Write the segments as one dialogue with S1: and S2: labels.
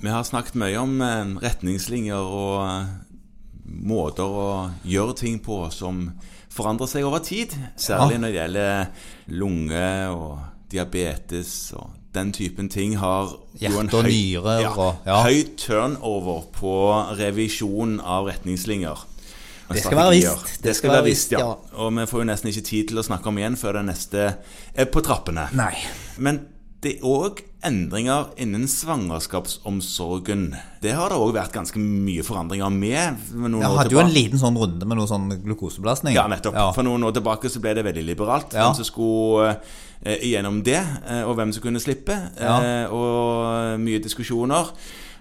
S1: Vi har snakket mye om eh, retningslinjer og eh, måter å gjøre ting på som forandrer seg over tid. Særlig
S2: Ja.
S1: når det gjelder lunge og diabetes og den typen ting har jo en
S2: Hjerte og
S1: høy-
S2: nyrer
S1: ja,
S2: og- ja.
S1: høy turnover på revisjon av retningslinjer. og
S2: Det skal være
S1: strategier.
S2: visst.
S1: Det skal være visst, ja. Og vi får jo nesten ikke tid til å snakke om igjen før den neste er på trappene.
S2: Nei.
S1: Men det er òg endringer innen svangerskapsomsorgen. Det har det òg vært ganske mye forandringer med. med noen
S2: Jeg
S1: år
S2: hadde jo en
S1: tilbake.
S2: liten sånn runde med noe sånn glukosebelastning.
S1: ja, nettopp.
S2: Ja.
S1: For noen år tilbake så ble det veldig liberalt
S2: Ja.
S1: hvem som skulle eh, igjennom det, eh, og hvem som kunne slippe.
S2: Ja.
S1: Eh, og mye diskusjoner.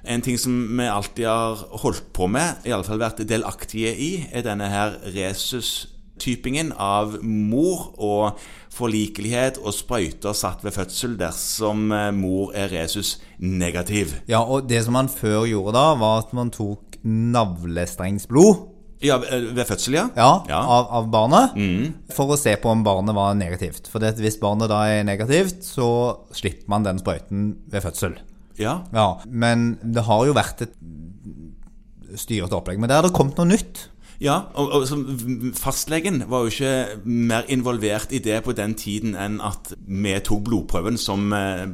S1: En ting som vi alltid har holdt på med, i alle fall vært delaktige i, er denne her resus-typingen av mor og forlikelighet og sprøyter satt ved fødsel dersom eh, mor er resus-negativ.
S2: Ja, og det som man før gjorde da, var at man tok navlestrengsblod
S1: Ja, eh, ved fødsel, ja?
S2: ja,
S1: Ja. Mm.
S2: Av, av barnet for å se på om barnet var negativt. For det, at hvis barnet da er negativt, så slipper man den sprøyten ved fødsel.
S1: ja.
S2: Ja, Men det har jo vært et styret opplegg. Men der har det kommet noe nytt.
S1: Ja, og, og som fastlegen var jo ikke mer involvert i det på den tiden enn at vi tok blodprøven som eh,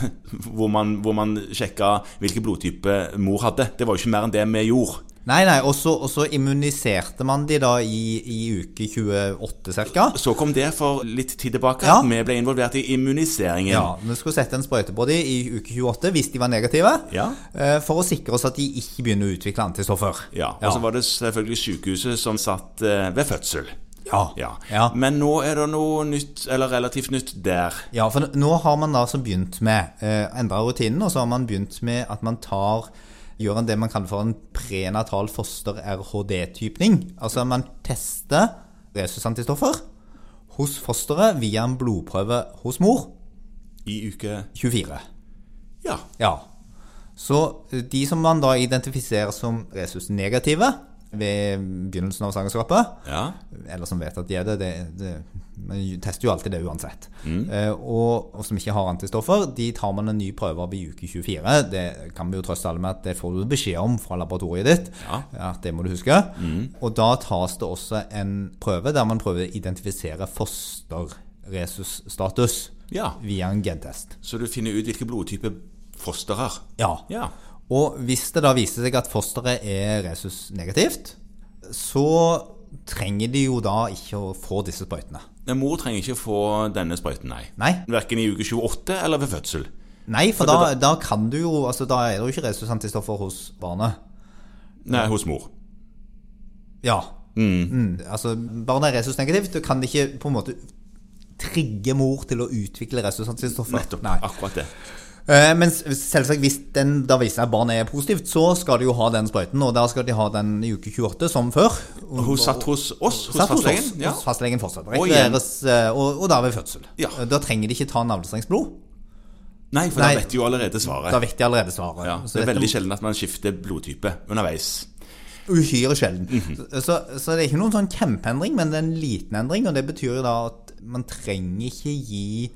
S1: hvor, man, hvor man sjekka hvilken blodtype mor hadde. Det var jo ikke mer enn det vi gjorde.
S2: Nei, nei, og så og så immuniserte man de da i, i uke 28 ca.
S1: Så kom det for litt tid tilbake.
S2: Ja.
S1: at Vi ble involvert i immuniseringen.
S2: Ja, vi skulle sette en sprøyte på dem i uke 28 hvis de var negative.
S1: Ja.
S2: eh, For å sikre oss at de ikke begynner å utvikle antistoffer.
S1: Ja, Og så var det selvfølgelig sykehuset som satt eh, ved fødsel.
S2: ja.
S1: Ja.
S2: Ja.
S1: Men nå er det noe nytt, eller relativt nytt, der.
S2: Ja, for nå har man da så begynt med eh, endra rutinen, og så har man begynt med at man tar gjør en det man kaller for en prenatal foster-RHD-typning. Altså man tester resusantistoffer hos fosteret via en blodprøve hos mor
S1: I uke
S2: 24.
S1: Ja.
S2: Ja. Så eh, de som man da identifiserer som resus-negative ved begynnelsen av svangerskapet,
S1: ja.
S2: eller som vet at de er det, det, det Man tester jo alltid det uansett. Eh, og, og som ikke har antistoffer, de tar man en ny prøve av i uke 24. Det kan vi jo trøste alle med at det får du beskjed om fra laboratoriet ditt.
S1: Ja.
S2: det må du huske. Og da tas det også en prøve der man prøver å identifisere fosterresusstatus
S1: ja.
S2: via en gentest.
S1: Så du finner ut hvilken blodtype foster har.
S2: Ja.
S1: Ja.
S2: Og hvis det da viser seg at fosteret er resus-negativt, så trenger de jo da ikke å få disse sprøytene.
S1: Men mor trenger ikke få denne sprøyten, nei.
S2: Nei,
S1: Hverken i uke 28 eller ved fødsel.
S2: Nei for da, da kan du jo altså Da er det jo ikke resusantistoffer hos barnet.
S1: Nei, hos mor.
S2: Ja. Mm, altså, barnet er resus-negativt, du kan ikke på en måte trigge mor til å utvikle resusantistoffer.
S1: Nettopp.
S2: Nei.
S1: Akkurat det.
S2: Eh, Men s- selvsagt, hvis den da viser seg at barnet er positivt, så skal de jo ha den sprøyten, og da skal de ha den i uke 28, som før. Og-
S1: Hun satt hos oss, hos
S2: Satt hos
S1: fastlegen.
S2: oss,
S1: Ja.
S2: hos fastlegen fortsatt.
S1: Og igjen.
S2: Rekvireres, eh, og, og da ved fødsel.
S1: Ja.
S2: Eh, Da trenger de ikke ta navlestrengsblod.
S1: Nei, for
S2: Nei.
S1: da vet de jo allerede
S2: Da
S1: svaret.
S2: vet altså, de allerede svaret.
S1: Ja,
S2: Så
S1: det er
S2: dette
S1: veldig sjelden at man skifter blodtype underveis.
S2: Uhyre sjelden.
S1: Mhm.
S2: så, så det er ikke noen sånn kjempeendring, men det er en liten endring. Og det betyr jo da at man trenger ikke gi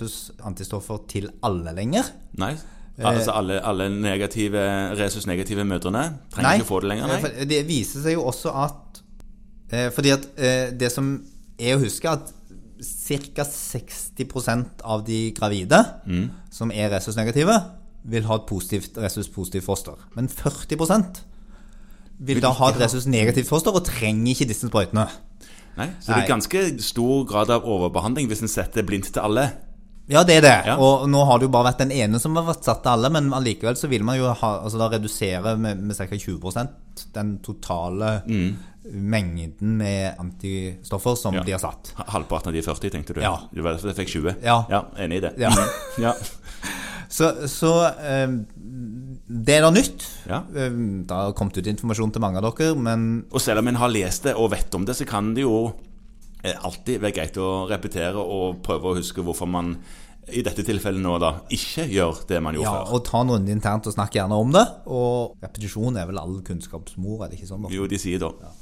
S2: resus-antistoffer til alle lenger.
S1: Nei.
S2: Eh.
S1: Altså alle, alle negative, resus-negative mødrene trenger
S2: Nei.
S1: ikke få det lenger, nei.
S2: For Det viser seg jo også at eh, Fordi at eh, det som er å huske, at ca. 60 av de gravide
S1: Mm.
S2: som er resus-negative, vil ha et positivt resus-positivt foster. Men 40 vil da ha et resus-negativt foster og trenger ikke disse sprøytene.
S1: nei. Så det
S2: Nei.
S1: er ganske stor grad av overbehandling hvis en setter blindt til alle.
S2: Ja, det er det.
S1: Ja.
S2: Og nå har det jo bare vært den ene som har vært satt til alle, men allikevel så vil man jo ha, altså da redusere med, med ca. 20 den totale mengden med antistoffer som
S1: Mm. Ja.
S2: blir satt.
S1: Halvparten av de 40, tenkte du.
S2: Ja.
S1: Det var derfor jeg fikk 20.
S2: Ja.
S1: Enig i det. Mm.
S2: Ja.
S1: ja.
S2: Så, så eh, det er da nytt.
S1: Ja.
S2: Eh, Det har kommet ut informasjon til mange av dere, men
S1: Og selv om en har lest det og vet om det, så kan det jo eh, alltid være greit å repetere og prøve å huske hvorfor man i dette tilfellet nå da ikke gjør det man
S2: ja,
S1: gjorde før.
S2: og ta en runde internt og snakk gjerne om det. Og repetisjon er vel all kunnskapsmor, er det ikke sånn? da?
S1: Jo, de sier da.